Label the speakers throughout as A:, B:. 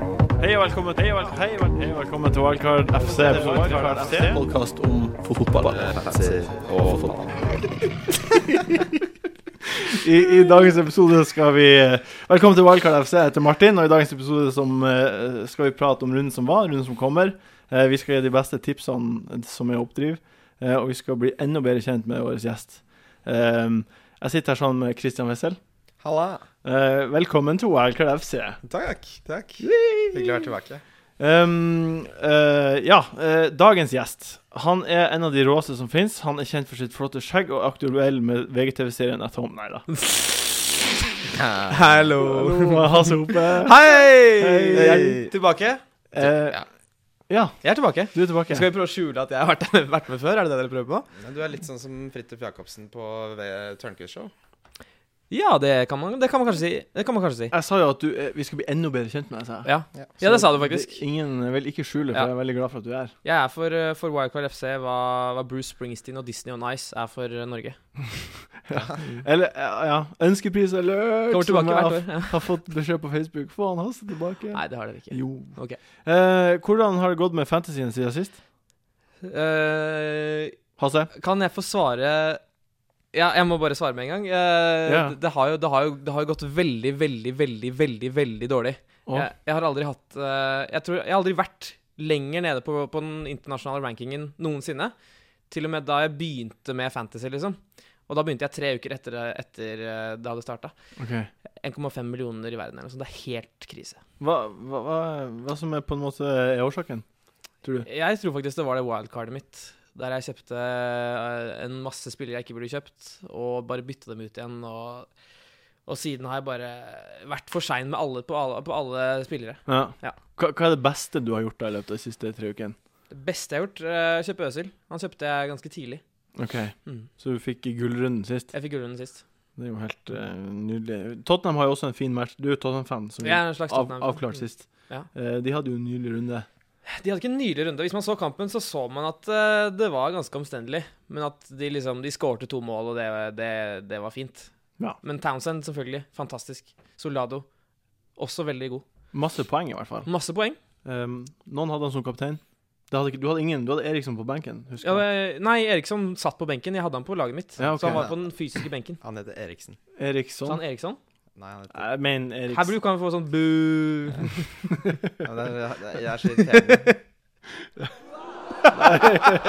A: og velkommen til Wildcard Hei, vel- hei, velkommen til Wildcard FC. Wildcard FC.
B: podkast om fotball.
A: I, I dagens episode skal vi eh, Velkommen til Wildcard FC etter Martin. Og i dagens episode som, eh, skal vi prate om runden som var, runden som kommer. Eh, Vi skal gi de beste tipsene som er oppdriv, eh, og vi skal bli enda bedre kjent med vår gjest. Eh, Jeg sitter her sammen med Christian Wessel.
C: Halla.
A: Eh, Velkommen til Wildcard FC.
C: Takk. takk. Hyggelig å være tilbake.
A: Um, eh, ja, eh, dagens gjest Han er en av de råeste som fins. Han er kjent for sitt flotte skjegg og aktuell med VGTV-serien At Home. Nei da.
C: Hallo.
A: Hallo, Hasse Hope.
C: Hei!
A: Hei.
C: Jeg er tilbake.
A: Eh, ja,
C: Jeg er tilbake.
A: du er tilbake.
C: Skal vi prøve å skjule at jeg har vært, vært med før? Er det det dere prøver på?
D: Ja, Du er litt sånn som Fridtjof Jacobsen på V- Tørnquist show.
E: Ja, det kan man, det kan man kanskje si. Det kan man kanskje si.
A: Jeg sa jo at du, eh, vi skal bli enda bedre kjent med deg. sa jeg.
E: Ja, ja det sa du faktisk.
A: Det, ingen vil ikke skjule, for
E: Ja.
A: jeg er veldig glad for at du er her.
E: Jeg er for, eh, for Wildcard FC hva, hva Bruce Springsteen og Disney on Ice er for eh, Norge.
A: Eller, eh, ja, ønskepris alert!
E: Kommer
A: som
E: tilbake
A: jeg
E: hvert
A: har,
E: år. Ja.
A: har fått beskjed på Facebook. Få han Hasse tilbake.
E: Nei, det har dere ikke.
A: Jo.
E: Ok.
A: Eh, hvordan har det gått med fantasyen siden sist?
E: Eh,
A: Hasse?
E: kan jeg få svare Ja, jeg må bare svare med en gang. Eh,
A: Ja.
E: det, det, har jo, det, har jo, det har jo gått veldig, veldig, veldig, veldig veldig dårlig.
A: Å.
E: Jeg, jeg har aldri hatt eh, jeg, tror, jeg har aldri vært lenger nede på, på den internasjonale rankingen noensinne. Til og med da jeg begynte med Fantasy, liksom. Og da begynte jeg tre uker etter, etter eh, det hadde starta.
A: Ok.
E: 1,5 millioner i verden eller noe sånt. Det er helt krise.
A: Hva, hva, hva, hva som er på en måte er årsaken, tror du?
E: Jeg tror faktisk det var det wildcardet mitt. Der jeg kjøpte eh, en masse spillere jeg ikke burde kjøpt, og bare bytte dem ut igjen. Og, og siden har jeg bare vært for sein med alle på, alle på alle spillere.
A: Ja.
E: Ja.
A: Hva, hva er det beste du har gjort da i løpet av de siste tre ukene?
E: Det beste jeg har gjort, eh, kjøpe Øsil. Han kjøpte jeg ganske tidlig.
A: Ok,
E: Mm.
A: Så du fikk gullrunden sist.
E: Jeg fikk gullrunden sist.
A: Det er jo helt eh, nydelig. Tottenham har jo også en fin match. Du er jo Tottenham-fan, som
E: Jeg
A: vi
E: er en slags
A: av,
E: Tottenham.
A: avklarte sist.
E: Ja.
A: Eh, de hadde jo en nylig runde.
E: De hadde ikke en nylig runde. Hvis man så kampen, så så man at eh, det var ganske omstendelig. Men at de liksom De skårte to mål, og det, det, det var fint.
A: Ja.
E: Men Townsend, selvfølgelig. Fantastisk. Solado. Også veldig god.
A: Masse poeng, i hvert fall.
E: Masse poeng.
A: Um, noen hadde han som kaptein. Det hadde ikke, du hadde ingen, du hadde Eriksson på benken, husker
E: Ja,
A: du?
E: det- nei, Eriksson satt på benken. Jeg hadde han på laget mitt.
A: Ja, ok. Sånn.
E: Så han var på den fysiske benken.
D: Han heter Eriksen.
E: Så han
A: Eriksson.
E: Eriksson
D: Nei, han heter
A: Jeg mener
E: Sånn- Her
A: Eriksson.
E: bruker han få sånn bu
D: ja, men det er, det er- Jeg er så irriterende.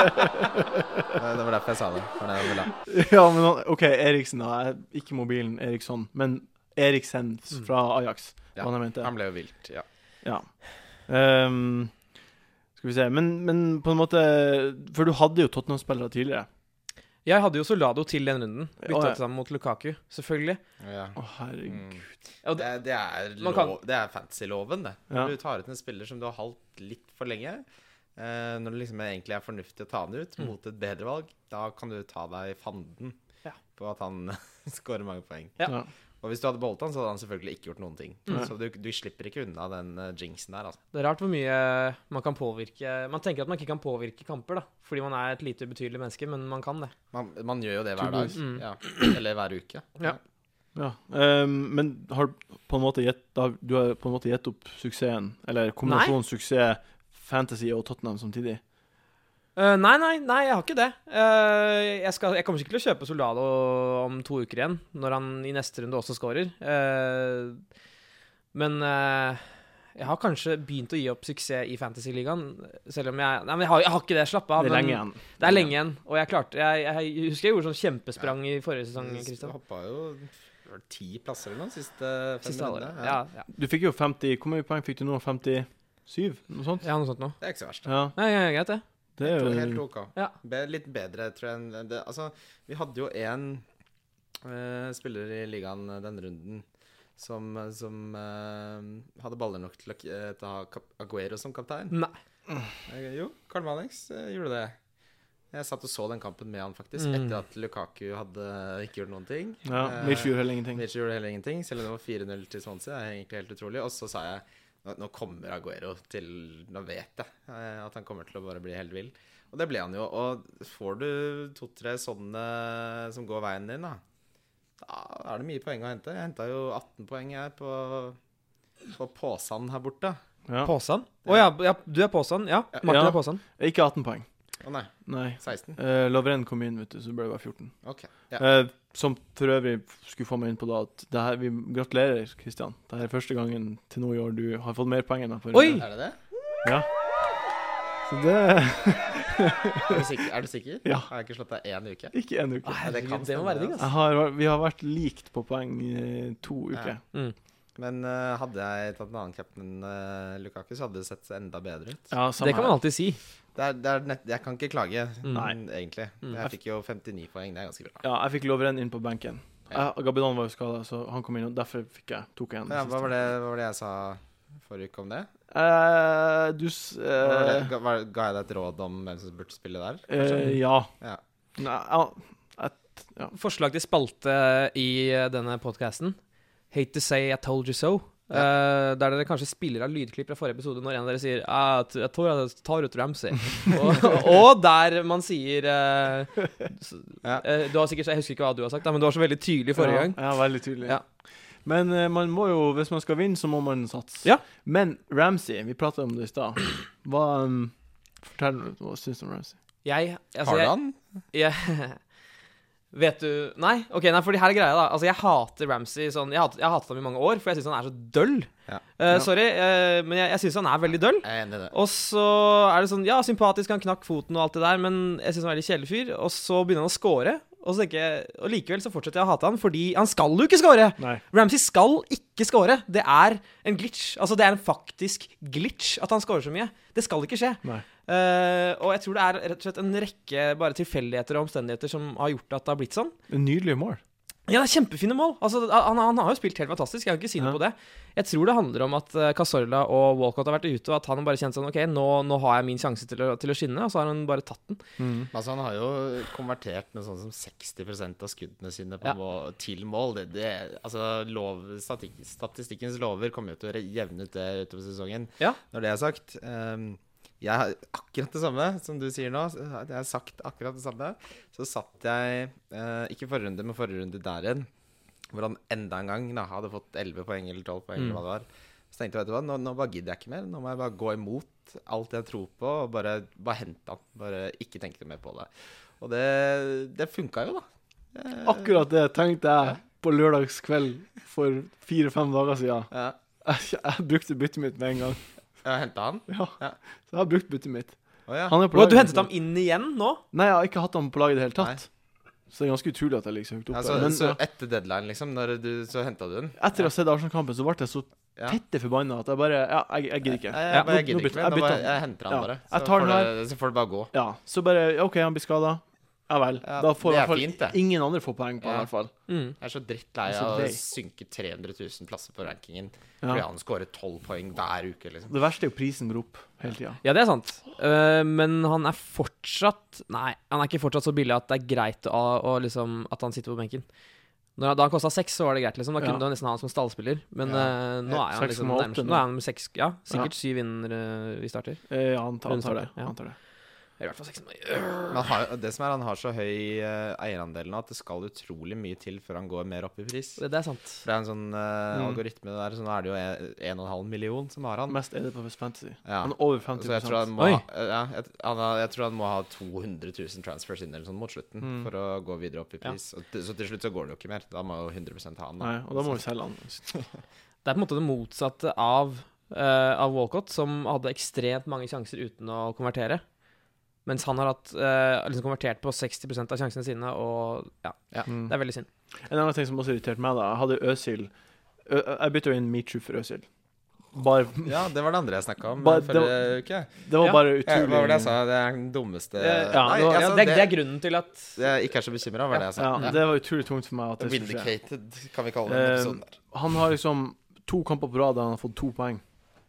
D: Det det var derfor jeg sa det. For det jeg ville. ha.
A: Ja, men han, OK, Eriksen, da. Jeg- Ikke mobilen Eriksson, men Eriksen
E: Mm.
A: fra Ajax.
D: Ja,
A: hva han mente.
D: Han ble jo vilt. Ja.
A: Ja. Ehm, skal vi se. Men, men på en måte For du hadde jo Tottenham-spillere tidligere.
E: Jeg hadde jo Solado til den runden.
A: Ja,
E: Bytta
A: ja.
E: ut sammen mot Lukaku, selvfølgelig.
D: ja.
A: Å, herregud.
D: Mm.
E: Og
D: Det,
E: det,
D: er- det er,
E: Man kan-
D: lov, det er fantasy-loven, det.
A: Ja.
D: Når du tar ut en spiller som du har holdt litt for lenge, eh, når det liksom egentlig er fornuftig å ta han
E: Mm.
D: ut mot et bedre valg, da kan du ta deg i fanden
E: Ja.
D: på at han scorer mange poeng.
E: Ja.
A: Ja.
D: Og hvis du hadde beholdt han, så hadde han selvfølgelig ikke gjort noen ting.
E: Mm.
A: Nei.
D: Så du, du slipper ikke unna den eh, jinxen der, altså.
E: det er rart hvor mye man kan påvirke Man tenker at man ikke kan påvirke kamper, da. Fordi man er et lite ubetydelig menneske, men man kan det.
D: Man, man gjør jo det hver dag.
E: Mm.
D: Ja. Eller hver uke.
E: Ja.
A: Ja. Ehm, men har du på en måte gitt- da- du har på en måte gitt opp suksessen, eller kombinasjonen suksess, fantasy og Tottenham samtidig?
E: Eh, nei, nei, nei, jeg har ikke det. Eh, jeg, skal, jeg kommer ikke til å kjøpe Solado om to uker igjen, når han i neste runde også scorer. Eh, men eh, jeg har kanskje begynt å gi opp suksess i Fantasyligaen. Selv om jeg Nei, men jeg har, jeg har ikke det. Slapp av.
A: det er
E: men
A: lenge igjen.
E: Det er lenge igjen. Og jeg klarte Jeg, jeg husker jeg gjorde sånn kjempesprang i forrige sesong,
D: Du
E: Kristian.
D: hoppa jo var det ti plasser eller noe siste fem
E: Siste halvåret.
D: rundene.
E: Ja,
D: Ja.
E: ja.
A: Du fikk jo 50 Hvor mange poeng fikk du nå? 57? Noe sånt?
E: ja, noe sånt noe.
D: Det er ikke så verst.
A: Ja,
E: Nei, ja, greit, det.
A: det er jo
D: Helt OK.
E: Ja.
D: Be, litt bedre, tror jeg. enn Det, altså, vi hadde jo én spiller i ligaen eh, denne runden som, som eh, hadde baller nok til å eh, ta Cap- Aguero som kaptein.
E: Nei.
D: Eh, Jo, Karl Malix eh, gjorde det. Jeg satt og så den kampen med han, faktisk,
E: Mm.
D: etter at Lukaku hadde ikke gjort noen ting.
A: Ja,
D: Eh,
A: Mitch gjorde heller ingenting.
D: Mitch gjorde heller ingenting, selv om det var 4-0 til Swansea. Det er egentlig helt utrolig. Og så sa jeg nå, nå kommer Aguero til Nå vet jeg eh, at han kommer til å bare bli helt vill. Og det ble han jo. Og får du to-tre sånne som går veien din, da, da er det mye poeng å hente. Jeg henta jo 18 poeng her på, på Påsan her borte.
A: Ja.
E: Påsan? Å ja, ja, du er påsan? Ja, Martin
A: Ja.
E: er påsan.
A: Ikke 18 poeng.
D: Å nei,
A: Nei.
D: 16?
A: Eh, Lovren kom inn, vet du, så ble det bare 14.
D: Ok. Ja.
A: Eh, som for øvrig skulle få meg inn på da at det her, vi Gratulerer, Kristian. Det her er første gangen til nå i år du har fått mer poeng enn meg. på
E: Oi!
A: runde.
D: Er det det?
A: Så det
D: Er du sikker? Er du sikker?
A: Ja.
D: Har jeg ikke slått deg én uke?
A: Ikke én uke.
D: Nei, det kan
E: det må
D: stemme,
E: være digg,
D: altså.
A: Jeg har, vi har vært likt på poeng i to uker.
E: Mm.
D: Men eh, hadde jeg tatt en annen cap'n enn eh, Lukaku, så hadde det sett enda bedre ut.
A: Ja,
E: Det kan man alltid si.
D: Det er, det er nett, jeg kan ikke klage,
A: Nei.
D: mm, egentlig. Jeg fikk jo 59 poeng, det er ganske bra.
A: Ja, jeg fikk Lovren inn på benken.
D: Ja.
A: Jeg- Gabidan var jo skada, så han kom inn, og derfor fikk jeg, tok jeg igjen.
D: Ja,
A: det
D: hva,
A: siste.
D: var det, hva var det jeg sa forrige uke om det?
A: Eh, du s...
D: Hva var det
A: eh,
D: ga, var, ga jeg deg et råd om hvem som burde spille der?
A: eh, ja.
D: Ja.
A: Nei, ja.
E: Forslag til spalte i eh, denne podkasten. Hate to say I told you so. Eh, der dere kanskje spiller av lydklipp fra forrige episode når en av dere sier «Ah, jeg tr- Jeg tror jeg tar ut Ramsey. og, og der man sier eh, s-
D: Ja.
E: eh, Du har sikkert Jeg husker ikke hva du har sagt, da, men du var så veldig tydelig forrige gang.
A: Ja, ja veldig tydelig.
E: Ja.
A: Men eh, man må jo, hvis man skal vinne, så må man satse.
E: Ja.
A: Men Ramsey, vi pratet om det i stad. Hva um, Fortell hva syns du om Ramsey.
E: Jeg, altså,
D: Har du
E: jeg-
D: han?
E: Jeg, vet du Nei, ok, nei, for det her er greia, da. Altså, jeg hater Ramsey sånn Jeg har jeg har hatet ham i mange år, for jeg syns han er så døll.
D: Ja.
E: Eh, sorry, eh, men jeg, jeg syns han er veldig døll.
D: Jeg er enig i det.
E: Og så er det sånn Ja, sympatisk, han knakk foten og alt det der, men jeg syns han er veldig kjedelig fyr. Og så begynner han å score, og, så tenker jeg, og likevel så fortsetter jeg å hate han, fordi han skal jo ikke score!
A: Nei.
E: Ramsey skal ikke score. Det er en glitch. Altså, det er en faktisk glitch at han scorer så mye. Det skal ikke skje.
A: Nei.
E: Eh, og jeg tror det er rett og slett en rekke bare tilfeldigheter og omstendigheter som har gjort at det har blitt sånn.
A: Nydelige mål.
E: Ja, det er kjempefine mål. Altså, han, han har jo spilt helt fantastisk. Jeg kan ikke si
A: Ja.
E: noe på det. Jeg tror det handler om at eh, Cazorla og Walcott har vært ute, og at han bare kjent sånn OK, nå, nå har jeg min sjanse til å, til å skinne, og så har han bare tatt den.
D: Altså, han har jo konvertert med sånn som 60 av skuddene sine på
E: Ja.
D: må, til mål. Det, det, altså, lov, statik, statistikkens lover kommer jo til å re- jevne ut det utover sesongen.
E: Ja.
D: Når det er sagt ehm, Jeg har akkurat det samme som du sier nå. så Jeg har sagt akkurat det samme. Så satt jeg, eh, ikke forrige runde, men forrige runde der igjen, hvor han enda en gang da, hadde fått 11 poeng eller 12 poeng,
A: Mm.
D: eller hva det var. Så tenkte jeg, vet du hva, nå, nå bare gidder jeg ikke mer. Nå må jeg bare gå imot alt jeg tror på, og bare, bare hente han. Bare ikke tenke noe mer på det. Og det, det funka jo, da.
A: Akkurat det tenkte jeg på lørdagskveld for fire-fem dager siden.
D: Ja,
A: Jeg, jeg brukte byttet mitt med en gang.
D: jeg henta han.
A: Ja.
D: Ja.
A: Så jeg har brukt byttet mitt.
D: Å ja.
A: Han er på
E: Og du
A: laget,
E: hentet ham inn igjen nå?
A: Nei, jeg har ikke hatt ham på laget i det hele tatt. Så det er ganske utrolig at jeg ligger så høyt oppe.
D: ja så,
A: Men
D: så
A: ja,
D: etter deadline, liksom, når du, så henta du den?
A: etter å ha sett Arsenal-kampen, så ble jeg så
D: Ja.
A: tette forbanna at jeg bare Ja, jeg, jeg gidder ikke.
D: Nei, jeg,
E: Ja,
D: bare,
A: nå-
D: jeg gidder
A: nå
D: ikke
A: bytter-
D: mer.
A: jeg
D: Nå bare,
A: bytter
D: jeg henter han
A: Ja.
D: bare.
A: Jeg
D: Så
A: tar
D: får,
A: den
D: det, så får det bare gå.
A: Ja, så bare OK, han blir skada. Ja vel.
D: Ja,
A: da får i
D: det er
A: hvert fall
D: fint, det.
A: ingen andre får poeng på han, i
D: Ja.
A: hvert fall.
D: Jeg er så drittlei
A: Det er så
D: av å
A: deg.
D: synke 300 000 plasser på rankingen
A: Ja.
D: fordi han scorer 12 poeng hver uke, liksom.
A: Det verste er jo prisen går opp hele tida.
E: Ja, det er sant. Eh, men han er fortsatt Nei, han er ikke fortsatt så billig at det er greit å, å liksom, at han sitter på benken. Når han, da han kosta seks, så var det greit. Liksom. Da kunne
A: Ja.
E: du nesten ha han som stallspiller. Men
D: Ja.
E: eh, nå er han liksom
A: 6,8
E: nærmest
A: nå.
E: Nå er han med seks Ja, sikkert syv innen eh, vi starter.
A: Ja, han tar, han tar det.
E: Rundt starter,
A: Han tar det.
E: Eller i hvert fall seks.
D: Men han har, det som er, han har så høy eh, eierandel nå at det skal utrolig mye til før han går mer opp i pris.
E: Det, det er sant.
D: For det er en sånn eh,
A: Mm.
D: algoritme der, så nå er det jo en- 1,5 million som har han.
A: Mest er det på West Fantasy.
D: Ja.
A: Han er over
D: Så jeg
A: 50
D: tror han, må
E: Oi.
D: ha, ja, jeg, han har, jeg tror han må ha 200 000 transfers inn eller sånn mot slutten
A: Mm.
D: for å gå videre opp i
E: Ja.
D: pris. Og til- Så til slutt så går det jo ikke mer. Da må jo 100 ha han. Da.
A: Nei, og da må vi selge han.
E: Det er på en måte det motsatte av, eh, av Walcott, som hadde ekstremt mange sjanser uten å konvertere. Mens han har hatt, eh, liksom konvertert på 60 av sjansene sine, og ja,
A: Mm.
E: det er veldig synd.
A: En annen ting som også irriterte meg, da. Jeg hadde Øsil Ø- Jeg bytta jo inn Michu for Øsil. Bare
D: Ja, det var det andre jeg snakka om
A: Bare-
D: eh, forrige uke.
A: Det var
E: Ja.
A: bare
D: Ja,
A: utrolig
D: hva var det jeg sa? Det er den dummeste
A: ja,
D: Eh, Nei,
A: det var-
E: Eh, Ja,
D: altså,
E: det,
D: det,
E: er- det er grunnen til at
D: jeg ikke er så bekymra, var det jeg sa.
A: Ja, det var utrolig tungt for meg at det skulle skje.
D: Vindicated, kan vi kalle den
A: Eh,
D: episoden der.
A: Han har liksom to kamper på rad der han har fått to poeng.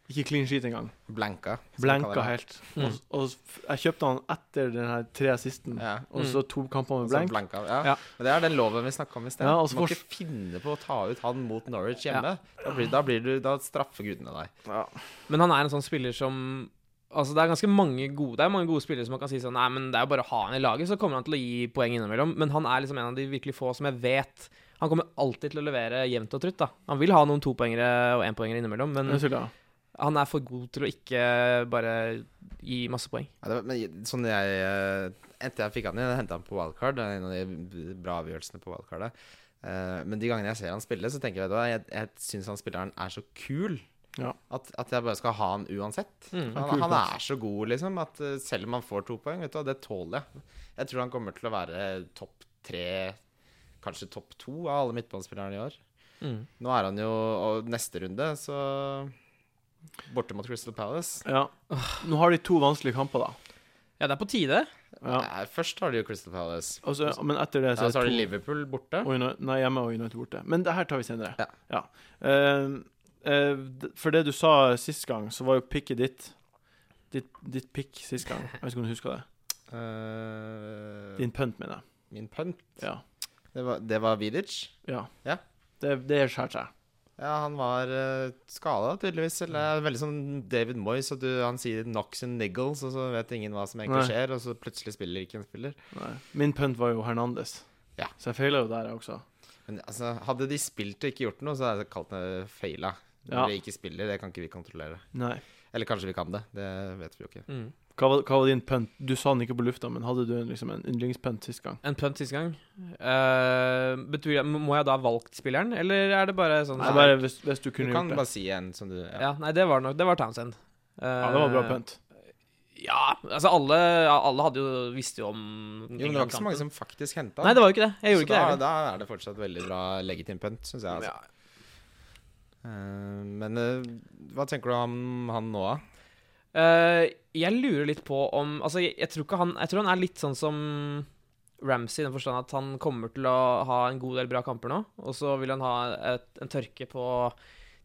A: Ikke clean sheet engang. Mm.
D: Blanka. som vi kaller
A: Blanka
D: det.
A: helt. Og, og f- jeg kjøpte han etter den her tre assisten,
D: Ja.
A: og så to kamper med
D: Altså,
A: blank.
D: blanka. Ja.
E: Ja.
D: Men det er den loven vi snakka om i sted.
A: Ja, altså,
D: du må
A: for-
D: ikke finne på å ta ut han mot Norwich hjemme. Da, blir, da, blir du, da straffer gudene deg.
E: Men han er en sånn spiller som Altså Det er ganske mange gode Det er mange gode spillere som man kan si sånn Nei, men det er jo bare å ha han i laget, så kommer han til å gi poeng innimellom. Men han er liksom en av de virkelig få som jeg vet
A: Mm.
E: Han kommer alltid til å levere jevnt og trutt. da Han vil ha noen topoengere og énpoengere innimellom, men
A: Unnskyld, ja.
E: Han er for god til å ikke bare gi masse poeng.
D: Ja, det var, men sånn jeg eh, Endte jeg fikk han inn, jeg hentet han på wildcard. Det er en av de b- bra avgjørelsene på wildcardet. Eh, men de gangene jeg ser han spille, så tenker jeg da Jeg, jeg syns han spilleren er så kul.
A: Ja.
D: At, at jeg bare skal ha han uansett.
E: Mm.
A: er
D: Han,
A: kul
D: han
A: plass.
D: er så god, liksom, at eh, selv om han får to poeng, vet du, og det tåler jeg. Jeg tror han kommer til å være topp tre, kanskje topp to av alle midtbanespillerne i år.
E: Mm.
D: Nå er han jo Og neste runde, så Borte mot Crystal Palace.
A: Ja. Nå har de to vanskelige kamper, da.
E: Ja, det er på tide.
A: Ja.
D: Nei, først har de jo Crystal Palace.
A: Og så- men etter det så
D: Ja,
A: er
D: så har
A: det
D: de
A: to
D: Liverpool borte.
A: og Uni- Nei, hjemme og United borte. Men det her tar vi senere.
D: Ja.
A: Eh, eh, d- for det du sa sist gang, så var jo picket ditt Ditt, ditt pick sist gang. Jeg vet ikke om du husker det.
D: Eh,
A: Din punt, mener jeg.
D: Min punt.
A: Ja.
D: Det var, det var Vidic.
A: Ja.
D: Ja.
A: Det, det skjærer seg.
D: Ja, han var uh, skada, tydeligvis. Eller er veldig sånn David Moyes, at du, han sier 'knocks and niggles', og så vet ingen hva som egentlig
A: Nei.
D: skjer, og så plutselig spiller ikke en spiller.
A: Nei. Min punt var jo Hernandez,
D: Ja.
A: så jeg feila jo der jeg også.
D: Men altså, hadde de spilt og ikke gjort noe, så hadde jeg kalt det feila.
A: Ja.
D: Når de ikke spiller, det kan ikke vi kontrollere.
A: Nei.
D: Eller kanskje vi kan det. Det vet vi jo ikke.
E: Mm.
A: Hva var, hva var din punt? Du sa den ikke på lufta, men hadde du en, liksom, en yndlingspunt sist gang?
E: En punt sist gang. Eh, betyr, det- må jeg da ha valgt spilleren, eller er det bare sånn
A: Nei, bare hvis, hvis du
D: Du
A: kunne
D: kan
A: gjort det.
D: bare si en som du ja.
E: ja, Nei, det var nok Det var Townsend.
A: Ja, det var bra punt.
D: eh,
E: Ja, altså alle, ja, alle hadde jo, visste jo om
D: Jo, men det var ikke så mange som faktisk henta
E: Nei, det var jo ikke det. Jeg gjorde
D: så
E: ikke
D: da,
E: det.
D: da er det fortsatt veldig bra legitim punt, syns jeg.
E: heller.
D: Altså.
E: Ja.
D: Eh, men eh, hva tenker du om han nå, da?
E: Eh, jeg lurer litt på om Altså, jeg, jeg tror ikke han Jeg tror han er litt sånn som Ramsey, i den forstand at han kommer til å ha en god del bra kamper nå, og så vil han ha et, en tørke på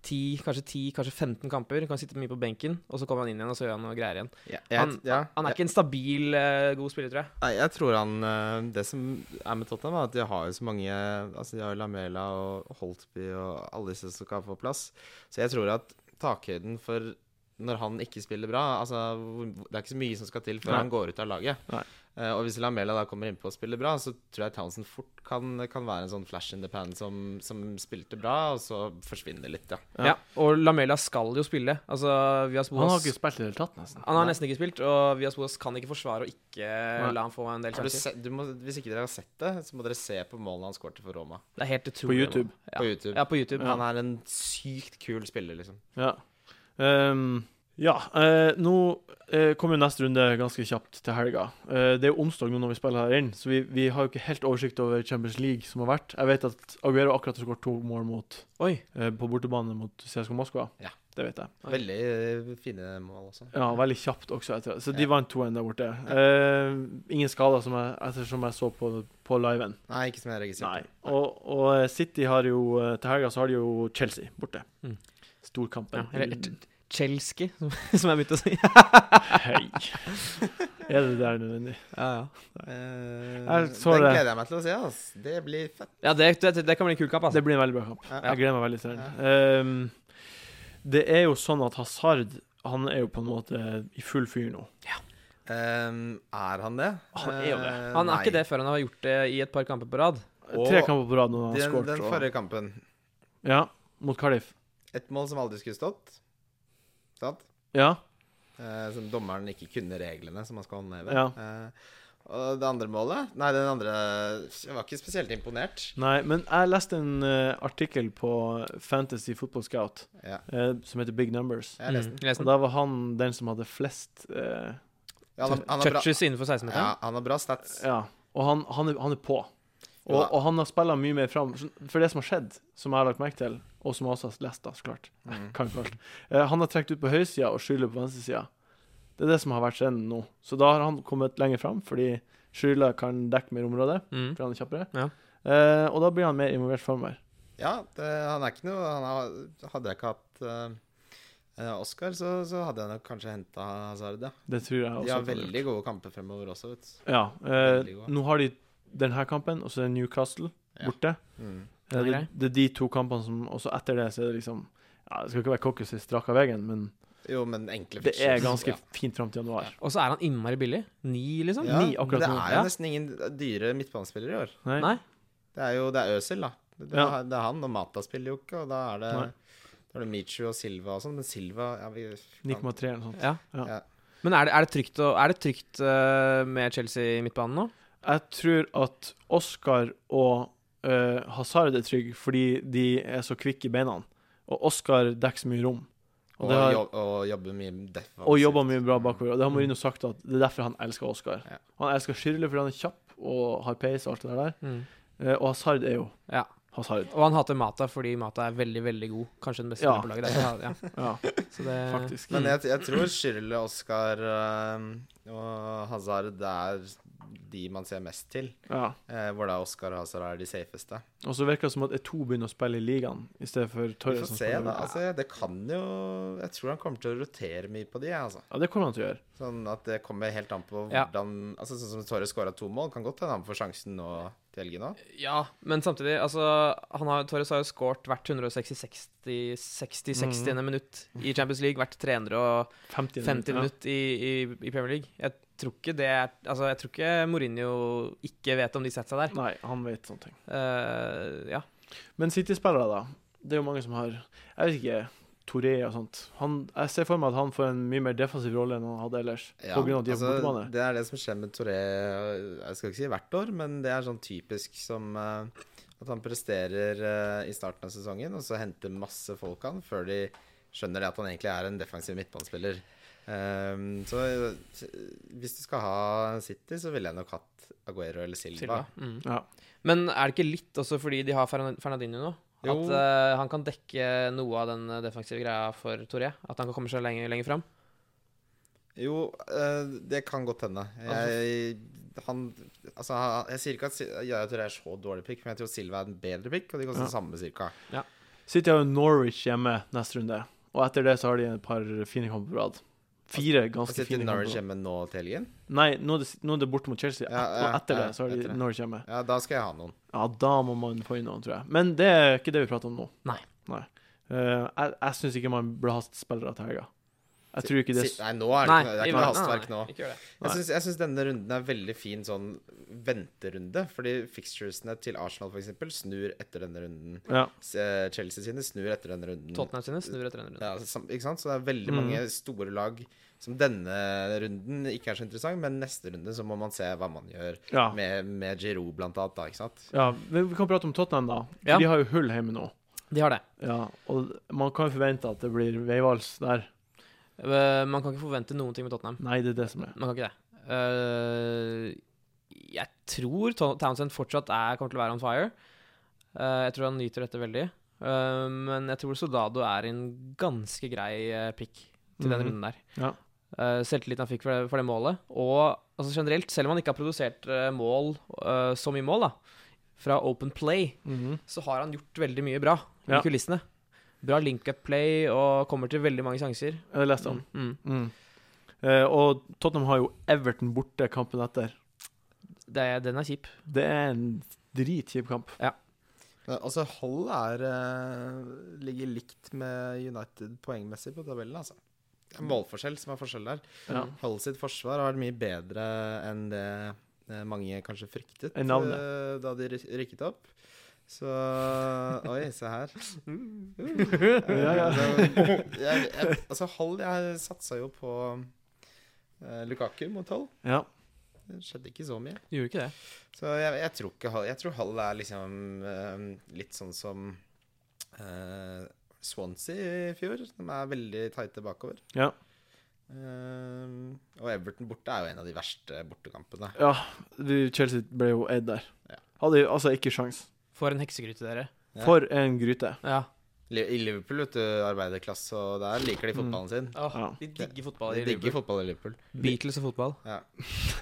E: 10, kanskje 10, kanskje 15 kamper. Kan sitte mye på benken, og så kommer han inn igjen, og så gjør han noe greier igjen.
D: Ja, jeg, ja,
E: Han er
D: jeg,
E: ikke en stabil, eh, god spiller, tror jeg.
D: nei, jeg tror han eh, Det som er med Tottenham, er at de har jo så mange Altså De har jo Lamela og Holtby og alle disse som kan få plass. Så jeg tror at takhøyden for når han ikke spiller bra Altså hvor- Det er ikke så mye som skal til før
A: Nei.
D: han går ut av laget.
A: Nei.
D: Eh, og hvis Lamela da kommer innpå og spiller bra, så tror jeg Townsend fort kan, kan være en sånn flash in the pan som, som spilte bra, og så forsvinner litt, ja.
A: Ja.
E: Ja. Og Lamela skal jo spille. Altså, Vias
A: Han har
E: Boas
A: ikke spilt i det hele tatt, nesten.
E: Han har nesten ikke spilt, og Vias Boas kan ikke forsvare å ikke
A: Nei.
E: la han få en del
D: Har du
E: sjanser.
D: se, du må, hvis ikke dere har sett det, så må dere se på målene han skårte for Roma.
E: Det er helt
A: På
E: utrolig.
A: YouTube.
E: Ja.
D: På YouTube.
E: Ja, på YouTube.
D: Han er en sykt kul spiller, liksom.
A: Ja. Ehm, ja. eh, nå eh, kommer jo neste runde ganske kjapt til helga. Eh, det er jo onsdag nå når vi spiller her inn, så vi, vi har jo ikke helt oversikt over Champions League som har vært. Jeg vet at Aguero akkurat har skåret to mål mot,
E: Oi.
A: eh, på bortebane mot CSKA Moskva.
D: Ja.
A: Det vet jeg.
E: Oi.
D: Veldig eh, fine mål også.
A: Ja, veldig kjapt også etter det. Så de
D: Ja.
A: vant 2-1 der borte. Eh, ingen skader, som jeg, ettersom jeg så på, på liven.
D: Nei, ikke som jeg registrerte.
A: Nei. Og, og City har jo eh, Til helga så har de jo Chelsea borte.
E: Mm. Ja,
A: Storkampen.
E: eller et- Chelsky, som som jeg begynte å si.
A: Hei. Er det der nødvendig?
E: Ja, ja.
D: Eh,
A: Jeg så
D: den
A: det.
D: gleder jeg meg til å se. Ass. Det blir fett.
E: ja det, det, det kan bli en kul kamp, altså.
A: Det blir en veldig bra kamp.
D: Ja.
A: Jeg gleder meg veldig til den. Ehm, det er jo sånn at Hazard han er jo på en måte i full fyr nå.
D: Ehm, er han det?
A: Han er jo det.
D: Eh,
E: Han er
D: nei.
E: ikke det før han har gjort det i et par kamper på rad.
D: Og
A: Tre kamper på rad nå har han
D: Den,
A: skåret.
D: den
A: og-
D: forrige kampen.
A: Ja, mot Cardiff.
D: Et mål som aldri skulle stått. Sant?
A: Ja.
D: Eh, som dommeren ikke kunne reglene som han skal håndheve.
A: Ja.
D: Eh, og det andre målet Nei, den andre Jeg var ikke spesielt imponert.
A: Nei, men jeg leste en eh, artikkel på Fantasy Football Scout
D: Ja,
A: eh, som heter Big Numbers.
D: jeg leste den.
E: Mm, leste
A: Og
E: den.
A: da var han den som hadde flest eh,
D: Ja, han, har- han har bra,
E: Touches innenfor
A: liksom.
E: 16-meteren.
D: ja, han har bra stats.
A: Ja. Og han, han, er, han er på. Og,
D: Jo da.
A: og han har spilla mye mer fram. Så- For det som har skjedd, som jeg har lagt merke til, og som jeg også har lest, da, så klart
D: Mm.
A: kan ikke alt. Eh, han har trukket ut på høyresida og skylder på venstresida. Det er det som har vært trenden nå. Så da har han kommet lenger fram, fordi skylda kan dekke mer område.
E: Mm.
A: Fordi han er kjappere.
E: Ja.
A: Eh, og da blir han mer involvert framover.
D: Ja, det, han er ikke noe han har, Hadde jeg ikke hatt eh, eh, Oscar, så, så hadde jeg nok kanskje henta Hazard, ja.
A: Det tror jeg også.
D: De har
A: at han gjør.
D: veldig gode kamper fremover også, vet du.
A: ja, eh,
D: veldig god.
A: Nå har de denne kampen, og så er Newcastle
D: Ja.
A: borte.
D: Mm.
A: Eh,
E: Den er
A: det, det er de to kampene som Og så etter det, så er det liksom ja, Det skal ikke være cocky strakk av veggen, men
D: Jo, men enkle
A: det er
D: fixtures,
A: ganske
D: ja.
A: fint fram til januar.
E: Og så er han innmari billig. Ni, liksom.
D: ja,
A: Ni akkurat
D: Det
A: nå.
D: er jo
E: Ja.
D: nesten ingen dyre midtbanespillere i år.
A: Nei.
E: Nei.
D: Det er jo det er Øsil, da. Det,
A: Ja.
D: det er han, og Mata spiller jo ikke, og da er det
A: Nei.
D: Da var det Michu og Silva og sånn, men Silva ja, vi,
A: 9,3 eller noe sånt.
E: Ja.
D: Ja.
E: Men er det, er det trygt, å, er det trygt eh, med Chelsea i midtbanen nå?
A: Jeg tror at Oscar og eh, Hazard er trygg fordi de er så kvikke i beina. Og Oscar dekker så mye rom. Og,
D: Og,
A: det har,
D: jobb, og jobber mye defensivt.
A: og jobber mye bra bakover. Og det har Marino sagt at det er derfor han elsker Oscar.
D: Mm. Ja.
A: Han elsker Schürrle fordi han er kjapp og har pace og alt det der.
D: Mm.
A: Eh, og Hazard er jo
E: Ja.
A: Hazard.
E: Og han hater Mata fordi Mata er veldig, veldig god. Kanskje den beste
A: Ja.
E: på laget. Det er- Ja.
A: Ja,
E: Så det,
A: faktisk.
D: Men jeg, jeg tror Schürrle, Oscar eh, og Hazard det er de man ser mest til.
A: Ja.
D: Eh, hvor da Oscar og Hazard er de safeste.
A: Og så virker det som at E2 begynner å spille i ligaen i stedet for
D: Vi
A: Torres.
D: får
A: som
D: se,
A: spiller.
D: da. Altså, jeg- det kan jo Jeg tror han kommer til å rotere mye på de, jeg, altså.
A: Ja, det kommer han til å gjøre.
D: Sånn at det kommer helt an på
E: Ja.
D: hvordan Altså Sånn som Torre skåra to mål, kan godt hende han får sjansen nå til helgen òg.
E: ja, men samtidig, altså han har, Torres har jo skåret hvert 160-60 minutt i Champions League. Hvert 350
A: 50,
E: minutt i, i, i Premier League. Jeg tror ikke det er Altså, jeg tror ikke Mourinho ikke vet om de setter
A: Ja.
E: seg der.
A: Nei, han vet sånne ting.
E: Eh, ja.
A: Men City-spillere, da. Det er jo mange som har Jeg vet ikke. Toré og sånt. Han, jeg ser for meg at han får en mye mer defensiv rolle enn han hadde ellers. på grunn av at de er på bortebane.
D: altså, det er det som skjer med Torre Jeg skal ikke si hvert år, men det er sånn typisk som eh, at han presterer eh, i starten av sesongen, og så henter masse folk han før de skjønner det at han egentlig er en defensiv midtbanespiller. Ehm, så eh, hvis du skal ha City, så ville jeg nok hatt Aguero eller Silva.
E: Silva. Mm.
A: Ja.
E: Men er det ikke litt også fordi de har Fernan- Fernandinho nå? At
D: Jo.
E: eh, han kan dekke noe av den eh, defensive greia for Toré? At han kan komme seg lenger, lenger fram?
D: Jo, eh, det kan godt hende. Jeg, han, altså, han- jeg sier ikke at Si- Yaya Touré er så dårlig pick, men jeg tror Silva er en bedre pick, og de koster
A: Ja.
D: det samme cirka.
A: City har jo Norwich hjemme neste runde, og etter det så har de et par fine kamper på rad. Fire
D: Og
A: ganske
D: Altså, sitter
A: fine
D: Norwich
A: kamper. på rad.
D: hjemme nå til helgen?
A: Nei, nå er, det, nå er det borte mot Chelsea,
D: Ja, ja,
A: og etter
D: ja,
A: det så har
D: etter
A: de
D: det.
A: Norwich hjemme.
D: Ja, da skal jeg ha noen.
A: Ja, da må man få inn noen, tror jeg. Men det er ikke det vi prater om nå.
E: Nei.
A: Eh, jeg jeg syns ikke man burde ha spillere til helga. Jeg tror ikke det
D: Si- Nei, nå er det, ikke, noe- det er ikke noe hastverk nå.
E: ikke gjør det.
D: Jeg syns, jeg syns denne runden er veldig fin sånn venterunde, fordi fixturesene til Arsenal f.eks. snur etter denne runden.
A: ja.
D: S- eh, Chelsea sine snur etter denne runden.
E: Tottenham sine snur etter en runde.
D: Ja, altså. sam, ikke sant? Så det er veldig
A: Mm.
D: mange store lag som denne runden ikke er så interessant, men neste runde så må man se hva man gjør
A: Ja.
D: med, med Giroud blant annet, da, ikke sant?
A: ja. Men vi kan prate om Tottenham, da. For
E: Ja.
A: De har jo hull hjemme nå.
E: De har det.
A: Ja, og man kan jo forvente at det blir veivals der.
E: Eh, man kan ikke forvente noen ting med Tottenham.
A: Nei, det er det som er.
E: Man kan ikke det. Eh, jeg tror Tow- Townsend fortsatt er, kommer til å være on fire. Eh, jeg tror han nyter dette veldig. Eh, men jeg tror Soldado er en ganske grei eh, pick til den
A: Mhm.
E: runden der.
A: Ja.
E: Eh, selvtilliten han fikk for det, for det målet. Og altså generelt, selv om han ikke har produsert eh, mål, eh, så mye mål, da, fra open play,
A: Mhm.
E: så har han gjort veldig mye bra
A: Ja.
E: i kulissene. Bra link-up-play og kommer til veldig mange sjanser.
A: Jeg leste han.
E: Mm.
A: Mm. Eh, og Tottenham har jo Everton borte kampen etter.
E: Det, den er kjip.
A: Det er en dritkjip kamp.
D: Altså, Hull er, eh, ligger likt med United poengmessig på tabellen, altså. Det er målforskjell som er forskjell der.
A: Ja.
D: Hull sitt forsvar har vært mye bedre enn det eh, mange kanskje fryktet
A: Enn navnet.
D: eh, da de ry- rykket opp. Så Oi, se her.
A: Ja, ja.
D: Altså, jeg, jeg, altså Hull Jeg satsa jo på eh, Lukaku mot Hull.
A: Ja.
D: Det skjedde ikke så mye.
E: Gjorde ikke det.
D: Så jeg, jeg tror ikke Hull Jeg tror Hull er liksom eh, litt sånn som eh, Swansea i fjor. De er veldig tighte bakover.
A: Ja.
D: Eh, og Everton borte er jo en av de verste bortekampene.
A: ja. Du, Chelsea ble jo eid der.
D: Ja.
A: Hadde jo altså ikke sjans.
E: For en heksegryte, dere.
D: Ja.
A: For en gryte.
E: Ja.
D: Li- I Liverpool, vet du, arbeiderklasse, og der liker de
A: Mm.
D: fotballen sin.
A: Ja.
E: De digger fotball
D: De
E: i
D: digger
E: Liverpool.
D: fotball i Liverpool.
E: Beatles og fotball.
D: Ja.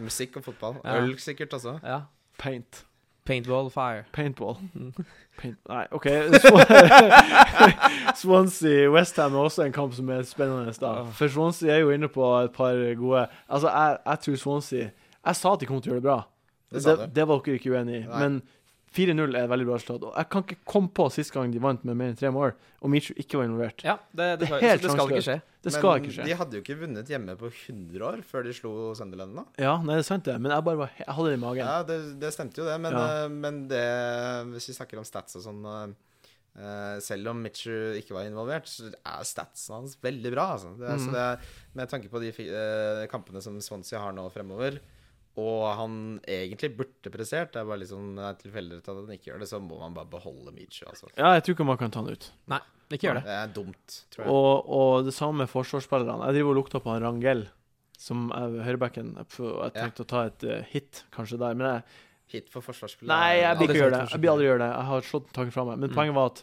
D: Musikk og fotball.
E: Ja.
D: Øl sikkert altså. også.
E: Ja.
A: Paint.
E: Paintball, fire.
A: Paintball. Paint. Nei, OK. Swan- Swansea Westham er også en kamp som er spennende.
E: Ah.
A: da For Swansea er jo inne på et par gode Altså, jeg, jeg tror Swansea Jeg sa at de kom til å gjøre det bra.
D: Det sa
A: det,
D: du.
A: var dere ikke uenig i.
D: Nei.
A: Men 4-0 er et veldig bra resultat. Og jeg kan ikke komme på sist gang de vant med mer enn tre mål, og Michu ikke var involvert.
E: Ja, det, det,
A: Det er
E: skal,
A: helt
E: det skal ikke skje.
A: Det skal ikke
D: De
A: skje.
D: hadde jo ikke vunnet hjemme på 100 år før de slo Sunderland nå.
A: Ja, nei, det er sant, det. Men jeg bare var, jeg hadde det i magen.
D: Ja, det, det stemte jo det, men,
A: Ja.
D: eh, men det Hvis vi snakker om stats og sånn eh, Eh, selv om Mitcher ikke var involvert, så er statsen hans veldig bra. Altså. Det, er- så
A: Mhm.
D: det er, med tanke på de fi- eh, kampene som Swansea har nå fremover, og han egentlig burde prestert, det er bare litt sånn eh, tilfeldighet at han ikke gjør det, så må man bare beholde Mitcher. Altså.
A: Ja, jeg tror ikke man kan ta han ut.
E: Nei, ikke gjør det.
D: Det er dumt, tror jeg.
A: Og, og det samme med forsvarsspillerne. Jeg driver og lukter på han Rangel, som er ved høyrebacken. Jeg f- Jeg tenkte å ta et eh, hit kanskje der, men jeg,
D: Hit for forsvarsspillet.
A: Nei, jeg blir
E: Aldri
A: ikke gjøre det.
E: sagt
A: Jeg blir aldri gjøre det. Jeg har slått taket fra
D: Mm.
A: meg. Men poenget var at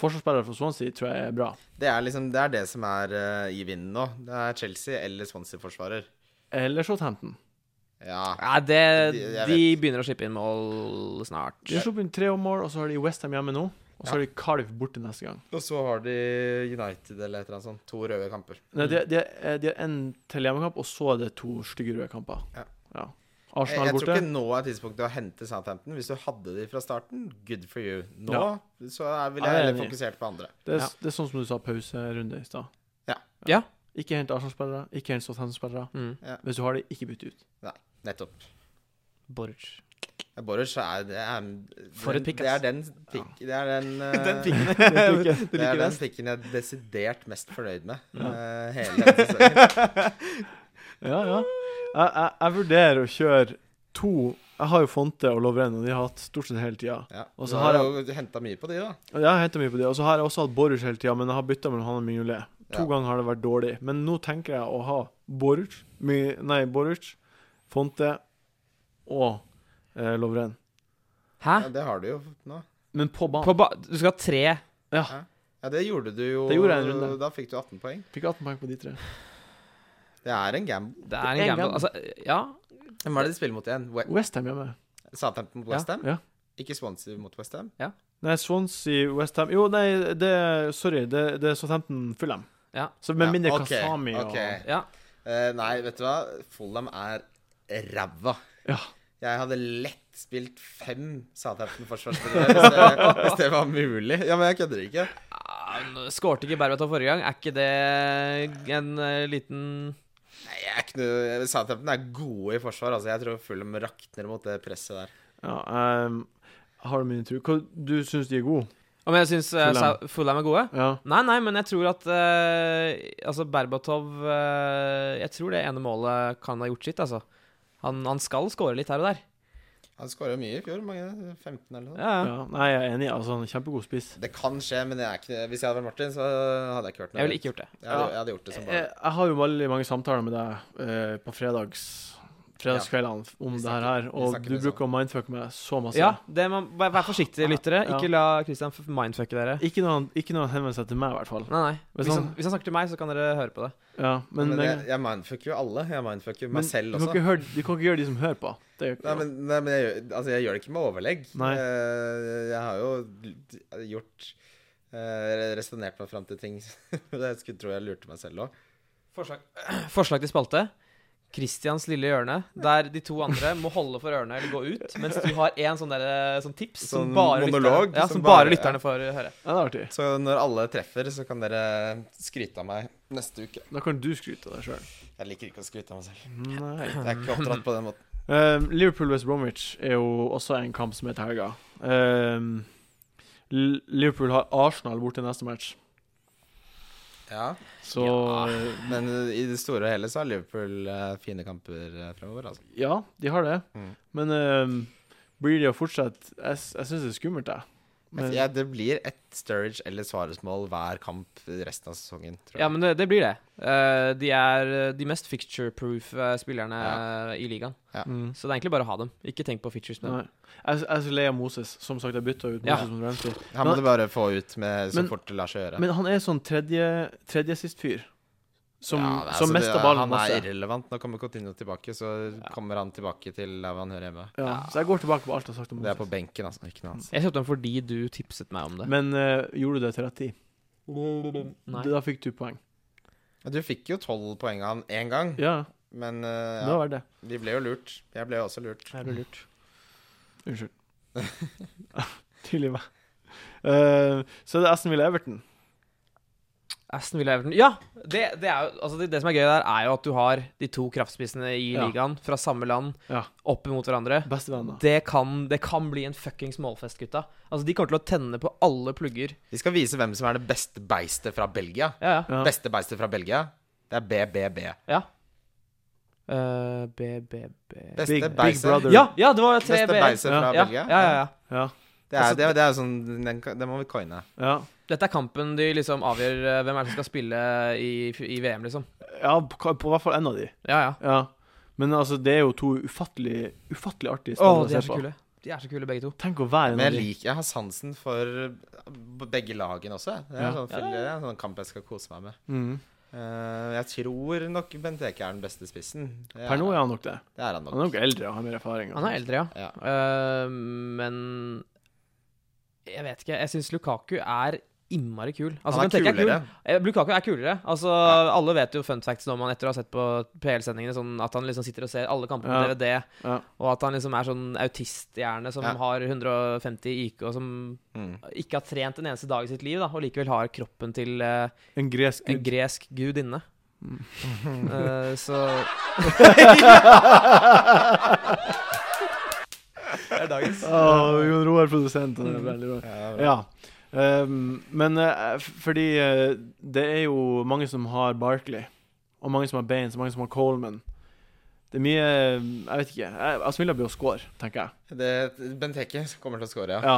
A: forsvarsspillere fra Swansea tror jeg er bra.
D: Det er liksom det, er det som er eh, i vinden nå. Det er Chelsea eller Swansea-forsvarer.
A: Eller Southampton.
D: Ja.
E: Nei, det,
D: De-
E: de,
D: jeg
E: begynner å slippe inn mål snart.
A: De har sluppet inn tre mål, og så har de Westham hjemme nå. Og så har de Cardiff borte neste gang.
D: Og så har de United eller et eller annet sånt. To røde kamper.
A: Nei, de, de, eh, de har én til hjemmekamp, og så er det to stygge røde kamper.
D: Ja.
A: Ja.
D: Jeg,
A: Arsenal
D: jeg tror
A: borte.
D: ikke nå er tidspunktet å hente Southampton. Hvis du hadde de fra starten, good for you. Nå
A: Ja.
D: så er-
A: Ja, jeg
D: ville jeg
A: er
D: heller
A: enig.
D: fokusert på andre.
A: Det er,
E: Ja.
A: det er sånn som du sa, pauserunde i stad.
D: Ja.
E: Ja.
A: Ikke hent Arsenal-spillere, ikke hent Southampton-spillere.
E: Mm.
D: Ja.
A: Hvis du har det, ikke bytt ut.
D: Nettopp.
E: Borch.
D: Ja, Boruch er det er,
E: For et
D: den-
E: pick,
D: Det er
E: ass.
D: den pikk... Det er den, eh,
C: Du
D: det er
C: liker
D: den
C: den?
D: pikken jeg er desidert mest fornøyd med eh, hele denne sesongen.
A: Ja, ja. Jeg, jeg, jeg vurderer å kjøre to Jeg har jo Fonte og Lovren, og de har hatt stort sett hele tida.
D: Ja.
A: Og
D: Du
A: så
D: har
A: har
D: jo henta mye på de, da.
A: Ja, Jeg har hentet mye på det. Og så har jeg også hatt Boruch hele tida, men jeg har bytta mellom han og Mignolet. To
D: Ja.
A: ganger har det vært dårlig. Men nå tenker jeg å ha Boruch, Mi- nei, Boruch, Fonte og eh, Lovren.
E: Hæ?
D: Ja, det har du jo nå.
A: Men på banen.
E: På ba du skal ha tre
D: Ja, det gjorde du jo.
A: Det gjorde jeg en runde.
D: Da fikk du 18 poeng.
A: Fikk 18 poeng på de tre.
D: Det er en gamble.
E: Det er en
A: En
E: gamble.
A: gang.
E: Altså, ja.
D: Hvem er det de spiller mot igjen? We
A: Westham hjemme.
D: Southampton mot Westham?
A: ja.
D: Ikke Swansea mot Westham?
A: Nei, Swansea, Westham Jo, nei, det Sorry, det, det er Southampton Fulham.
E: Ja.
A: Så med
D: Ja,
A: mindre
D: ok,
A: Kasami og
D: ok.
E: ja.
D: Eh, nei, vet du hva? Fulham er ræva.
A: Ja.
D: Jeg hadde lett spilt fem Southampton-forsvarsspillere hvis, det- hvis det var mulig. Ja, men jeg kødder ikke.
E: Ah, Skårte ikke Berbatov forrige gang? Er ikke det en eh, liten
D: Nei, jeg er ikke noe Southampton er gode i forsvar. Altså, jeg tror Fulham rakner mot det presset der.
A: ja ehm, har du min tur? Hva, du syns de er gode?
E: Om jeg syns eh,
A: Fulham.
E: Fulham er gode?
A: Ja.
E: Nei, nei, men jeg tror at eh, Altså, Berbatov eh, Jeg tror det ene målet kan ha gjort sitt, altså. Han, han skal score litt her og der.
D: Han skåra mye i fjor. Mange 15 eller noe.
E: Ja, ja.
A: ja. Nei, jeg er enig. Altså, han er kjempegod spiss.
D: Det kan skje, men jeg er ikke, hvis jeg hadde vært Martin, så hadde jeg ikke hørt noe.
E: Jeg ville ikke gjort det.
D: Jeg hadde, jeg hadde gjort
E: Eh,
D: det som
A: jeg,
D: bare
A: jeg har jo veldig mange samtaler med deg eh, på fredags fredagskveldene om det her, her, og
D: snakker
A: du
D: mye
A: bruker å mindfucke meg så masse.
E: Ja, det må, vær, vær forsiktige, lyttere.
A: Ja.
E: Ikke la Christian f- mindfucke dere.
A: Ikke når han, ikke når han henvender seg til meg, i hvert fall.
E: Nei, nei.
A: Hvis
E: Hvis han,
A: han-
E: hvis han snakker til meg, så kan dere høre på det.
A: Ja, men,
D: Men
A: men,
D: jeg, jeg mindfucker jo alle. Jeg mindfucker meg
A: men
D: selv
A: du, kan
D: også.
A: ikke høre, du kan ikke gjøre de som hører på. Det er jo ikke
D: Nei, men, nei, men jeg, gjør- altså, jeg gjør det ikke med overlegg.
A: Nei.
D: Eh, Jeg har jo gjort uh, Resonnert meg fram til ting. jeg skulle tro jeg lurte meg selv òg.
E: Forslag, Forslag til spalte. Christians lille hjørne, der de to andre må holde for ørene eller gå ut, mens du har en sånn, der, sånn tips som
D: Sånn
E: bare,
D: monolog
E: lytterne, ja,
D: som
E: som bare,
D: bare-
E: lytterne får høre.
A: Ja, det er artig.
D: Så når alle treffer, så kan dere skryte av meg neste uke.
A: Da kan du skryte av deg sjøl.
D: Jeg liker ikke å skryte av meg selv.
A: Nei.
D: Jeg er ikke oppdratt på den måten.
A: Eh, Liverpool West Bromwich er jo også en kamp som er til helga. Eh, L- Liverpool har Arsenal borte neste match,
D: Ja.
A: så eh,
D: Men eh, i det store og hele så har Liverpool eh, fine kamper eh, fremover, altså.
A: Ja, de har det.
D: Mm.
A: Men ehm, blir de å fortsette Jeg, s- jeg syns det er skummelt, jeg.
D: Jeg-
A: Men,
D: jeg- det blir et Sturridge eller Svaresmål hver kamp resten av sesongen, tror jeg.
E: Ja, men det, det blir det. Eh, de er eh, de mest picture-proof eh, spillerne eh, i ligaen.
A: mm,
E: Så det er egentlig bare å ha dem. Ikke tenk på features med
A: nei.
E: dem.
A: Jeg, s- jeg er så lei av Moses. Som sagt, jeg bytta ut
E: Ja.
A: Moses mot Ramsey.
D: Han må
A: Men-
D: du bare få ut med så
A: Men-
D: fort det lar seg gjøre.
A: Men han er sånn tredje, tredje sist fyr. Som,
D: Ja, altså,
A: som
D: det-
A: mester ballen
D: Han er
A: masse.
D: irrelevant. Nå kommer Coutinho tilbake, så kommer han tilbake til der hvor han hører hjemme.
A: Ja, så jeg går tilbake på alt jeg har sagt om
D: Det er på
A: Moses.
D: benken, altså. Ikke noe annet.
E: Jeg kjøpte dem fordi du tipset meg om det.
A: Men eh, gjorde du det til rett tid?
E: Nei.
A: Da fikk du poeng.
D: Du fikk jo tolv poeng av han én gang,
A: Ja,
D: men eh,
A: det
D: ja,
A: var det.
D: vi ble jo lurt. Jeg ble jo også lurt.
A: Er du lurt? Unnskyld. Tilgi meg. Eh, så er det Aston Villa Everton.
E: Aston Villa Everton Ja! Det, det, er jo, altså det, det som er gøy der, er jo at du har de to kraftspissene i
A: Ja.
E: ligaen fra samme land
A: Ja.
E: opp imot hverandre.
A: Bestevenner.
E: Det kan, det kan bli en fuckings målfest, gutta. Altså, de kommer til å tenne på alle plugger.
D: Vi skal vise hvem som er det beste beistet fra Belgia.
E: Ja, ja.
A: Ja.
D: Beste beistet fra Belgia, det er BBB.
E: Eh, B, B, B
D: Beste
A: Big, Big
D: beistet-
A: Brother.
E: Ja, ja, det var tre
D: Beste
E: B.
D: beistet
A: Ja.
D: fra
E: Ja, ja,
D: Belgia.
E: ja, ja.
A: Ja.
D: Det er, det, er- det er sånn den, kan- den må vi coine.
A: Ja.
E: Dette er kampen de liksom avgjør eh, hvem er det som skal spille i, i VM, liksom.
A: ja på, på hvert fall en av de.
E: Ja, ja.
A: Ja. Men altså, det er jo to ufattelig, ufattelig artige
E: Å,
A: spillere
E: de er så kule. De er så kule, begge to.
A: Tenk å være en
D: Men
A: av
D: jeg
A: de.
D: liker Jeg har sansen for begge lagene også. jeg. Det er
A: Ja.
D: sånn, fyll- det er en sånn kamp jeg skal kose meg med.
A: Mm.
D: Eh, jeg tror nok Benteke er den beste spissen. Det
A: Per nå er han nok det.
D: det er han nok.
A: Han er nok eldre og har mer erfaring. og
E: Han er
A: sånt.
E: eldre, ja.
D: Ja.
E: Eh, men Jeg vet ikke. Jeg syns Lukaku er innmari kul. Altså,
D: han er
E: Benteke
D: kulere.
E: Kul. Eh, Lukaku er kulere. Altså, Alle vet jo fun facts når man etter å ha sett på PL-sendingene, sånn at han liksom sitter og ser alle kampene på
A: Ja.
E: DVD,
A: Ja.
E: og at han liksom er sånn autisthjerne som
D: Ja.
E: har 150 IQ, og som
D: Mm.
E: ikke har trent en eneste dag i sitt liv, da, og likevel har kroppen til eh,
A: En gresk
E: en gresk gudinne. Mm. Eh, så
C: Det er dagens.
A: Åh, Jon Roar, produsent. Han er veldig bra.
D: Mm. Ja, det er bra.
A: Ja. Ehm, men eh, f- fordi eh, det er jo mange som har Barkley, og mange som har Baines, og mange som har Coleman. Det er mye eh, Jeg vet ikke. Jeg- Aston Villa blir å score, tenker jeg.
D: Det- Benteke kommer til å score, ja.
A: Ja.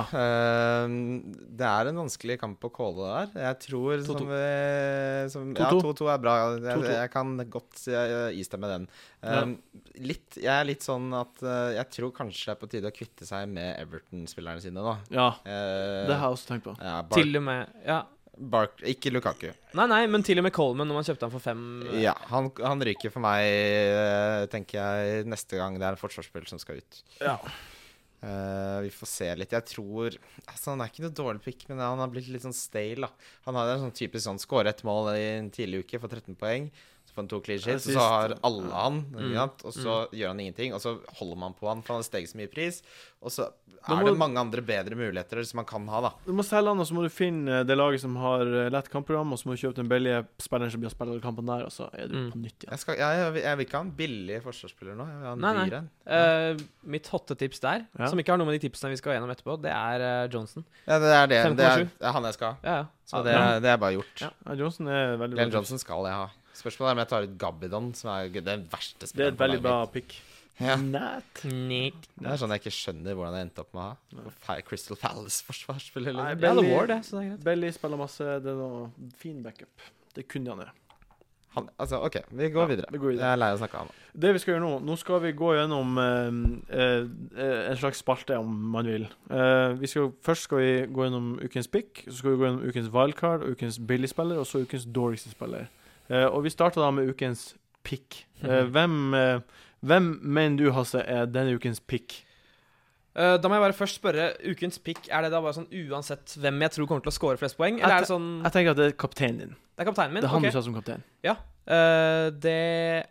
D: Eh, det er en vanskelig kamp å calle der. Jeg tror
A: 2-2.
D: som, eh, som Ja,
A: 2-2.
D: 2-2 er bra. Jeg,
A: 2-2.
D: jeg kan godt eh, istemme den. Um, litt, jeg er litt sånn at eh, jeg tror kanskje det er på tide å kvitte seg med Everton-spillerne sine nå.
A: Ja,
D: Eh,
A: det har jeg også tenkt på.
D: ja, Bar
E: til og med Ja.
D: Bark ikke Lukaku.
E: Nei, nei, men til og med Coleman, når man kjøpte han for fem
D: Ja, han, han ryker for meg, eh, tenker jeg, neste gang det er en forsvarsspiller som skal ut.
A: Ja.
D: Eh, vi får se litt. Jeg tror altså, Han er ikke noe dårlig pick, men han har blitt litt sånn stale. da. Han hadde en sånn typisk sånn skåre ett mål i en tidlig uke, får 13 poeng. Så får han to clean sheets, og
A: Assist.
D: så har alle han. ikke
E: Mm.
D: sant? Og så gjør han ingenting, og så holder man på han, for han har steget så mye i pris. Og så
A: Da
D: er
A: må-
D: det mange andre bedre muligheter som man kan ha, da.
A: Du må selge han, og så må du finne det laget som har eh, lett kampprogram, og så må du kjøpe den billige spilleren som blir å spille alle kampene der, og så er du
E: Mm.
A: på nytt igjen.
D: Jeg, skal, jeg, jeg, vil ikke ha en billig forsvarsspiller nå. Jeg vil ha en
E: Nei, nei.
D: dyr en.
E: Eh, mitt hotte tips der,
A: Ja.
E: som ikke har noe med de tipsene vi skal gjennom etterpå, det er eh, Johnson.
D: Ja, det er det. Det er,
E: 5,7.
D: det er han jeg skal ha.
E: Ja, ja.
D: Så det, er- det er bare gjort.
E: Ja.
A: Ja, Johnson er veldig
D: Glenn
A: bra.
D: Johnson skal jeg ha. Spørsmålet er om jeg tar ut Gabidon, som er den verste
A: Det er
D: spilleren.
A: et veldig
D: på
A: bra
D: laget
A: pick.
D: mitt. Ja.
A: Nat.
E: Nick.
D: Det er sånn jeg ikke skjønner hvordan jeg endte opp med å ha. Fa- Crystal Palace-forsvarsspiller.
A: Nei,
E: Ja,
D: Liksom.
E: det
A: Bailey-
E: var det, så det er greit.
A: Bailey spiller masse. Det er noe fin backup. Det kunne han gjøre.
D: Han- Altså, OK, vi går videre.
A: vi går videre.
D: Jeg er lei av å snakke om han.
A: Det vi skal gjøre nå, nå skal vi gå gjennom eh, eh, eh, en slags spalte, om man vil. Eh, vi skal, først skal vi gå gjennom ukens pick, så skal vi gå gjennom ukens wildcard, ukens billigspiller og så ukens dårligste spiller. Eh, og vi starter da med ukens pick. Eh, hvem, eh, hvem mener du, Hasse, er denne ukens pick?
E: Eh, da må jeg bare først spørre, ukens pick, er det da bare sånn uansett hvem jeg tror kommer til å score flest poeng? Eller er det sånn
A: Jeg tenker at det er kapteinen din.
E: Det er kapteinen min?
A: Det er han du
E: Ok.
A: sa som kaptein.
E: Eh, det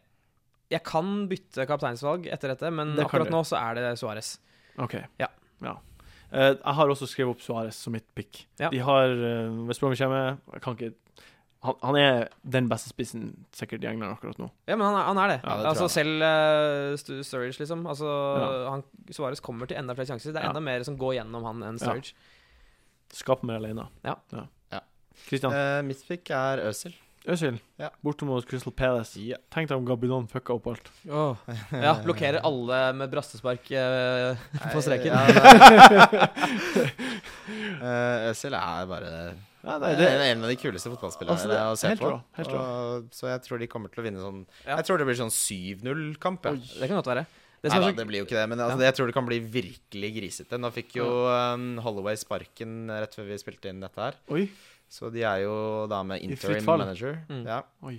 E: Jeg kan bytte kapteinsvalg etter dette, men
A: Det kan
E: akkurat
A: du.
E: nå så er det Suárez.
A: OK.
E: Ja.
A: Eh, jeg har også skrevet opp Suárez som mitt pick.
E: Ja.
A: De har eh, Hvis Bromwich kommer Jeg kan ikke han, han er den beste spissen sikkert i England akkurat nå.
E: Ja, men han er, han er det.
D: Ja, det tror
E: altså
D: jeg.
E: Selv eh, Stu- Sturridge, liksom. Altså,
A: Ja.
E: han, Suárez kommer til enda flere sjanser. Det er
A: Ja.
E: enda mer som går gjennom han enn Sturridge.
A: Skap mer alene.
E: Ja.
D: Ja.
A: Christian,
D: Eh, mitt pick er Øzil.
A: Øzil,
D: Ja.
A: borte mot Crystal Palace. Tenk deg om Gabidon fucka opp alt.
E: Åh. Ja, blokkerer alle med brastespark eh, på streken.
D: Eh, Øzil er bare
A: Ja,
D: det
A: nei,
D: er
A: det,
D: en av de kuleste fotballspillerne
A: Altså, det er
D: å se
A: helt
D: på.
A: rå, helt rå.
D: Og, så jeg tror de kommer til å vinne sånn
E: Ja.
D: Jeg tror det blir sånn 7-0-kamp. Ja.
E: Det kan godt være. Det
D: Nei
E: som
D: da,
E: er sånn-
D: det blir jo ikke det, men altså, jeg tror det kan bli virkelig grisete. Nå fikk jo um, Holloway sparken rett før vi spilte inn dette her,
A: oi,
D: så de er jo da med
A: I fritt
D: interim
A: fall.
D: manager.
E: Mm.
D: Ja.
A: oi.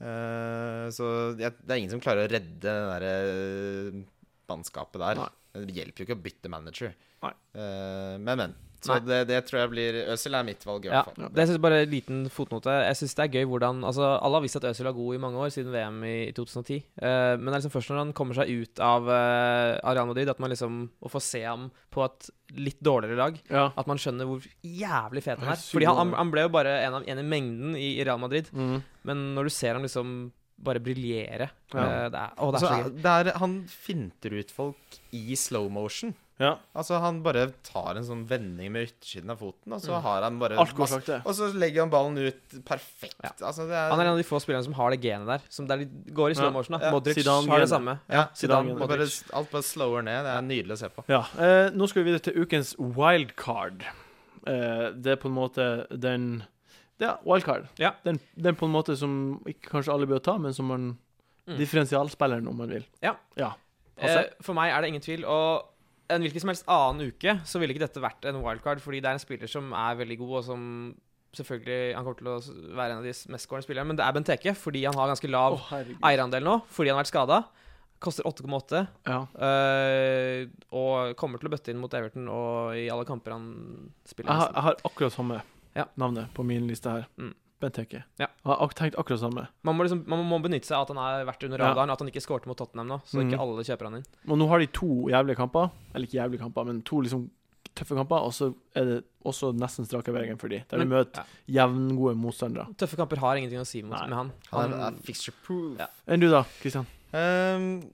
D: Eh, så jeg, det er ingen som klarer å redde det derre eh, mannskapet der. Det hjelper jo ikke å bytte manager.
A: Nei.
D: Eh, men, men. Så
E: Nei.
D: det, det tror jeg blir Øzil er mitt valg, i
E: Ja,
D: hvert fall.
E: det jeg synes bare en liten fotnote. Jeg synes det er gøy hvordan altså, Alle har visst at Øzil er god i mange år, siden VM i 2010. Eh, men det er liksom først når han kommer seg ut av eh, Areal Madrid, at man liksom å få se ham på et litt dårligere lag,
A: Ja.
E: at man skjønner hvor jævlig fet han
A: Han er
E: er. Fordi han, han,
A: superdårlig.
E: han ble jo bare en, av, en i mengden i, i Real Madrid,
A: Mm.
E: men når du ser ham liksom bare briljere
A: Ja.
E: eh, det, er- å, det er
D: Altså,
E: så gøy.
D: det er, han finter ut folk i slow motion.
A: ja.
D: Altså, han bare tar en sånn vending med yttersiden av foten, og så
E: Mm.
D: har han bare
A: Alt går
D: Eh, masse-
A: sakte.
D: Og så legger han ballen ut perfekt.
E: Ja.
D: Altså, det er,
E: Han er en av de få spillerne som har det genet der. Som det er litt, går i slow
A: Ja.
E: motion. da.
A: Ja.
E: Modric
A: Zidane
E: har
A: genet.
E: det samme.
D: ja,
A: Zidane,
D: det bare, alt bare slower ned. Det er nydelig å se på.
A: Ja, eh, nå skal vi videre til ukens wildcard. Eh, det er på en måte den Det er wildcard.
E: Ja.
A: Den, den på en måte som ikke kanskje alle bør ta, men som man
E: Mm.
A: Differensialspilleren, om man vil.
E: Eh,
A: Passe.
E: for meg er det ingen tvil. Og en hvilken som helst annen uke så ville ikke dette vært en wildcard, fordi det er en spiller som er veldig god, og som selvfølgelig Han kommer til å s- være en av de s- mestskårende spillerne, men det er Benteke, fordi han har ganske lav
A: herregud.
E: eierandel nå, fordi han har vært skada. Koster 8,8,
A: Ja.
E: eh, og kommer til å bøtte inn mot Everton og i alle kamper han spiller.
A: Jeg har,
E: nesten.
A: jeg har akkurat samme
E: Ja.
A: navnet på min liste her.
E: Mm.
A: Bent Heke.
E: Ja.
A: Jeg har ak- tenkt akkurat samme.
E: Man må, liksom, man må benytte seg av at han har vært under
A: Ja.
E: radaren, at han ikke skårte mot Tottenham nå, så
A: Mhm.
E: ikke alle kjøper han inn.
A: Og nå har de to jævlige kamper. Eller ikke jævlige kamper, men to liksom tøffe kamper. Og så er det også nesten strake veien for de der de
E: Men-
A: møter jevngode motstandere.
E: Tøffe kamper har ingenting å si mot,
A: Nei.
E: med han.
D: Han er, er fixture proof.
E: Ja.
A: Enn du, da, Kristian?
D: Ehm,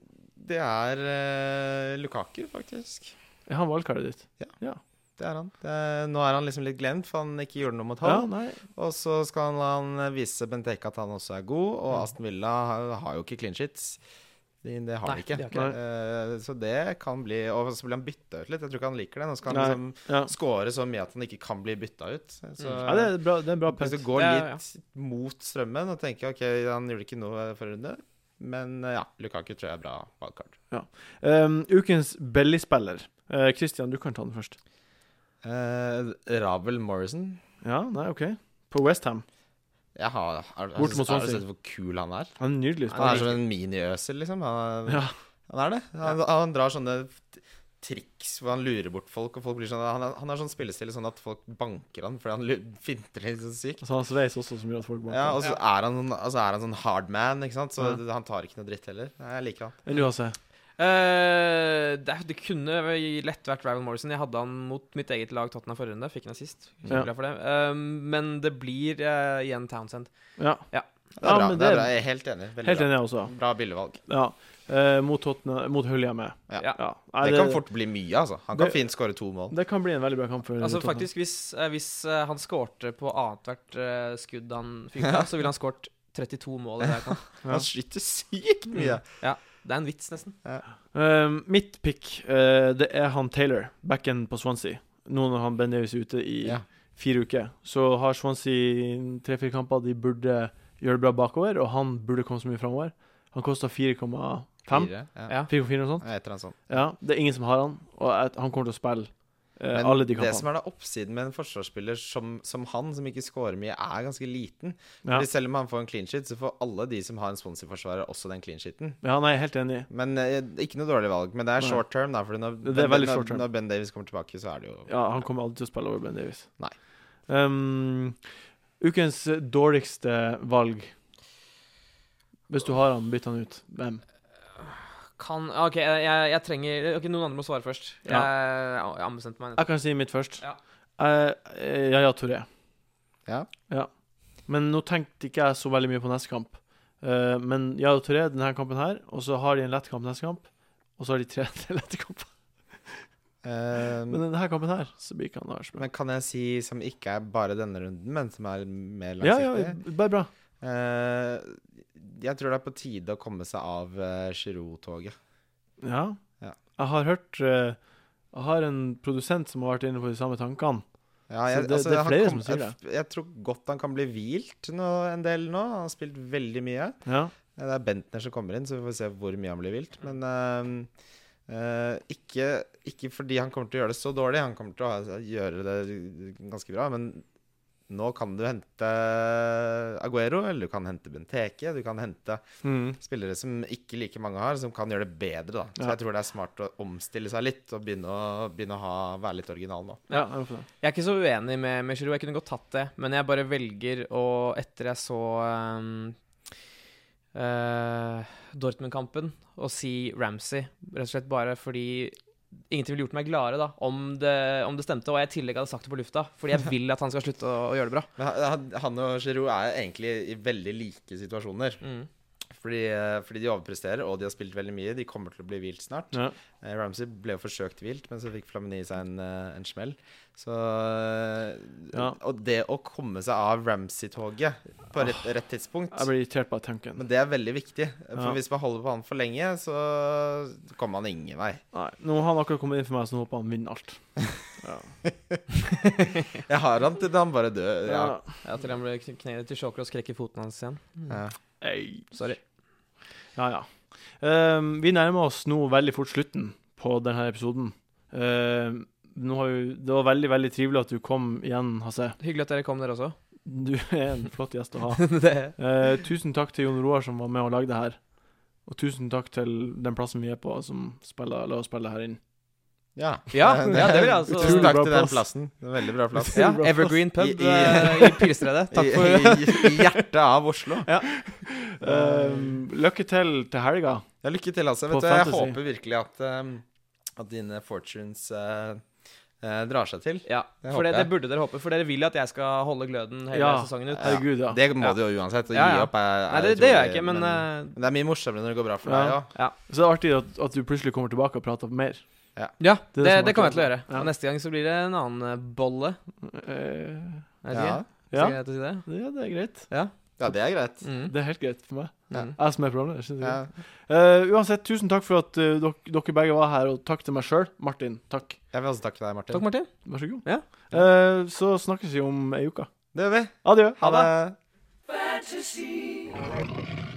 D: det er eh, Lukaku, faktisk.
A: Er han wildcardet ditt?
D: Det er han. Det er, nå er han liksom litt glemt, for han ikke gjorde noe mot
A: Ja,
D: halv.
A: nei.
D: Og så skal han vise Benteke at han også er god, og Aston Villa har, har jo ikke clean sheets. Det, det har
E: Nei,
D: de ikke.
E: de har
A: ikke
D: Eh, så det kan bli Og så blir han bytta ut litt. Jeg tror ikke han liker det. Nå skal han
A: Nei,
D: liksom
A: Ja.
D: score så mye at han ikke kan bli bytta ut.
A: Mm.
D: Så
A: ja, det er bra, det er en bra
D: hvis
A: pent.
D: du går
E: Ja, ja, ja.
D: litt mot strømmen og tenker OK, han gjorde ikke noe forrige runde, men eh, ja, Lukaku tror jeg er bra wildcard.
A: Um, ukens Belly-spiller. Eh, Kristian, du kan ta den først.
D: Eh, Ravel Morrison.
A: Ja, nei, OK. På Westham.
D: Jeg har, har,
A: Bort
D: har,
A: mot
D: har du
A: Swansea.
D: sett hvor kul han er?
A: Han er en nydelig
D: Han er
A: spiller.
D: som en mini-øser, liksom. Han,
A: Ja.
D: han er det. Han, han drar sånne t- triks hvor han lurer bort folk, og folk blir sånn Han, er- han har sånn spillestil sånn at folk banker han fordi han lu- finter litt sånn sykt.
A: Og så har han sveis Altså, også, som gjør at folk bare
D: Ja, og så er han, sånn- altså er han sånn hard man, ikke sant? så han tar ikke noe dritt heller. Nei, jeg liker han.
A: Enn du, Hasse?
E: Eh, det, det kunne lett vært Raven Morrison. Jeg hadde han mot mitt eget lag Tottenham forrige runde. Fikk en assist.
A: Ja.
E: Kjempeglad for det. Eh, men det blir eh, igjen Townsend.
A: Ja.
D: Det er
A: Ja,
D: bra.
A: men
D: det
A: det-
D: er bra. Jeg er helt enig. Veldig
A: Helt
D: bra.
A: enig, jeg også.
D: Bra billigvalg.
A: Ja. Eh, mot Tottenham Mot Hull hjemme.
D: Ja.
A: Nei,
D: det kan fort bli mye, altså. Han kan
A: Det-
D: fint skåre to mål.
A: det kan bli en veldig bra kamp for
E: Altså
A: Tottenham.
E: faktisk Hvis, eh, hvis eh, han skårte på annethvert uh, skudd han fyrte, av, så ville han skåret 32 mål. i hver kamp.
A: Ja. Mm.
D: Han skyter sykt mye.
E: Det er en vits, nesten.
A: Um, mitt pick, eh, det er han Taylor, backen på Swansea. Nå når han Bendeus er ute i
D: Ja.
A: fire uker, så har Swansea tre-fire kamper de burde gjøre det bra bakover, og han burde komme så mye framover. Han kosta 4,5.
D: Fire, Ja.
E: Ja.
A: 4,4 og sånt.
D: Ja, Et eller annet sånt.
A: Ja, det er ingen som har han, og at han kommer til å spille eh,
D: Men
A: alle de
D: det som
A: kampene.
D: er da oppsiden med en forsvarsspiller som, som han, som ikke scorer mye, er ganske liten.
A: Ja.
D: Fordi Selv om han får en clean sheet, så får alle de som har en Swansea-forsvarer, også den clean sheeten.
A: Ja, nei, jeg er helt enig.
D: Men eh, Ikke noe dårlig valg, men det er
A: Nei.
D: short term. Da, fordi når,
A: Det er veldig
D: når,
A: short term.
D: når Ben Davies kommer tilbake, så er det jo
A: Ja, han kommer aldri til å spille over Ben Davies.
D: Nei.
A: Um, ukens dårligste valg Hvis du har han, bytt han ut. Hvem?
E: Kan OK, jeg, jeg, jeg trenger Ok, noen andre må svare først. Jeg, jeg ombestemte meg. nettopp.
A: Jeg kan si mitt først.
E: Ja.
A: Eh, eh, ja, ja, Touré.
D: Ja.
A: Men nå tenkte ikke jeg så veldig mye på neste kamp. Eh, men ja, Touré, denne kampen her, og så har de en lett kamp neste kamp. Og så har de tre lette kamper.
D: Eh,
A: Men denne kampen her, så blir ikke han der så bra.
D: Men kan jeg si, som ikke er bare denne runden, men som er mer
A: Ja, ja,
D: langsiktig
A: bare bra.
D: eh, Jeg tror det er på tide å komme seg av uh, Giroud-toget.
A: Ja.
D: Ja.
A: Jeg har hørt eh, Jeg har en produsent som har vært inne på de samme tankene.
D: Ja,
A: Så
D: jeg,
A: det-
D: altså,
A: det er
D: han
A: flere
D: kom,
A: som sier
D: jeg, jeg tror godt han kan bli hvilt nå, en del nå. Han har spilt veldig mye. Eh,
A: Ja.
D: Det er Bentner som kommer inn, så vi får se hvor mye han blir vilt. Men eh, eh, ikke, ikke fordi han kommer til å gjøre det så dårlig. Han kommer til å ha- gjøre det ganske bra. Men nå kan du hente Aguero, eller du kan hente Benteke. Du kan hente
A: Mm.
D: spillere som ikke like mange har, som kan gjøre det bedre. Da. Så
A: Ja.
D: jeg tror det er smart å omstille seg litt og begynne å, begynne å ha, være litt original nå.
A: ja jeg er med på det.
E: Jeg er ikke så uenig med, med Giroud. Jeg kunne godt tatt det, men jeg bare velger å Etter jeg så ehm, eh, Dortmund-kampen, å si Ramsey. Rett og slett bare fordi Ingenting ville gjort meg gladere da, om det, om det stemte, og jeg i tillegg hadde sagt det på lufta. Fordi jeg vil at han skal slutte å, å gjøre det bra.
D: Men han- han- han og Giroud er egentlig i veldig like situasjoner.
E: Mm.
D: Fordi, eh, fordi de overpresterer, og de har spilt veldig mye. De kommer til å bli hvilt snart.
A: Ja.
D: Eh, Ramsey ble jo forsøkt hvilt, men så fikk Flamini seg en, eh, en smell. Så eh,
A: Ja.
D: Og det å komme seg av Ramsey-toget på rett, rett tidspunkt
A: Jeg blir irritert bare av tanken.
D: men det er veldig viktig, for
A: Ja.
D: hvis man holder på han for lenge, så kommer man ingen vei.
A: Nei, nå har han akkurat kommet inn for meg, så nå håper jeg han vinner alt.
D: Jeg har han til han bare dør. Ja.
E: Ja, til han blir kn- kneet til Sjåker og skrekker foten hans igjen.
D: Ja.
A: Ei.
E: Sorry.
A: Ja, ja. Ehm, vi nærmer oss nå veldig fort slutten på denne episoden. Ehm, nå har jo, det var veldig veldig trivelig at du kom igjen, Hasse.
E: Hyggelig at dere kom, dere også.
A: Du er en flott gjest å ha.
E: det.
A: Eh, tusen takk til Jon Roar som var med og lagde det her. Og tusen takk til den plassen vi er på, som spiller, la oss spille her inn.
D: Ja.
E: Ja, ja, det vil jeg altså-
D: Tusen takk
A: Bra
D: til den
A: plass.
D: plassen. Det er en Veldig bra plass.
E: Ja,
A: Bra plass.
E: Evergreen pub
D: I- i-
E: eh, i Pilestredet. Takk for
D: I, i, I hjertet av Oslo.
A: Ehm, lykke til til helga.
D: Ja, lykke til, altså.
A: På
D: Vet du, jeg
A: Fantasy.
D: håper virkelig at, ehm, at dine fortunes eh, eh, drar seg til.
E: Ja,
D: Det
E: for det,
D: håper
E: det
D: jeg.
E: burde dere håpe, for dere vil at jeg skal holde gløden hele
A: Ja.
E: sesongen ut.
A: Herregud, ja.
D: Det må du jo uansett. Å
E: Ja,
D: gi
E: ja.
D: opp er, er
E: Nei, det, det gjør jeg
D: utrolig,
E: ikke, men eh,
D: men det er mye morsommere når det går bra for deg
A: Ja.
D: òg.
A: Så det er artig at, at du plutselig kommer tilbake og prater mer.
E: eh, ja,
A: det er det
E: det, det,
A: som er
E: kommer jeg til å gjøre.
A: Ja.
E: Og neste gang så blir det en annen eh, bolle.
A: Eh,
E: Er det
D: Ja.
E: ikke?
A: ja.
E: Skal jeg til å si det?
A: ja, det er greit.
D: ja, det er greit.
E: Mm.
A: Det er helt greit for meg.
D: Ja.
E: Mm.
A: Jeg som er programleder. synes det er
D: Ja.
A: greit. Eh, uansett, tusen takk for at eh, dok dere begge var her, og takk til meg sjøl. Martin, takk.
D: Jeg vil også takke deg, Martin.
E: Takk, Martin.
A: Vær så god.
E: Ja.
A: Eh, så snakkes vi om ei uke.
D: Det gjør vi.
A: Adjø.
D: Ha det.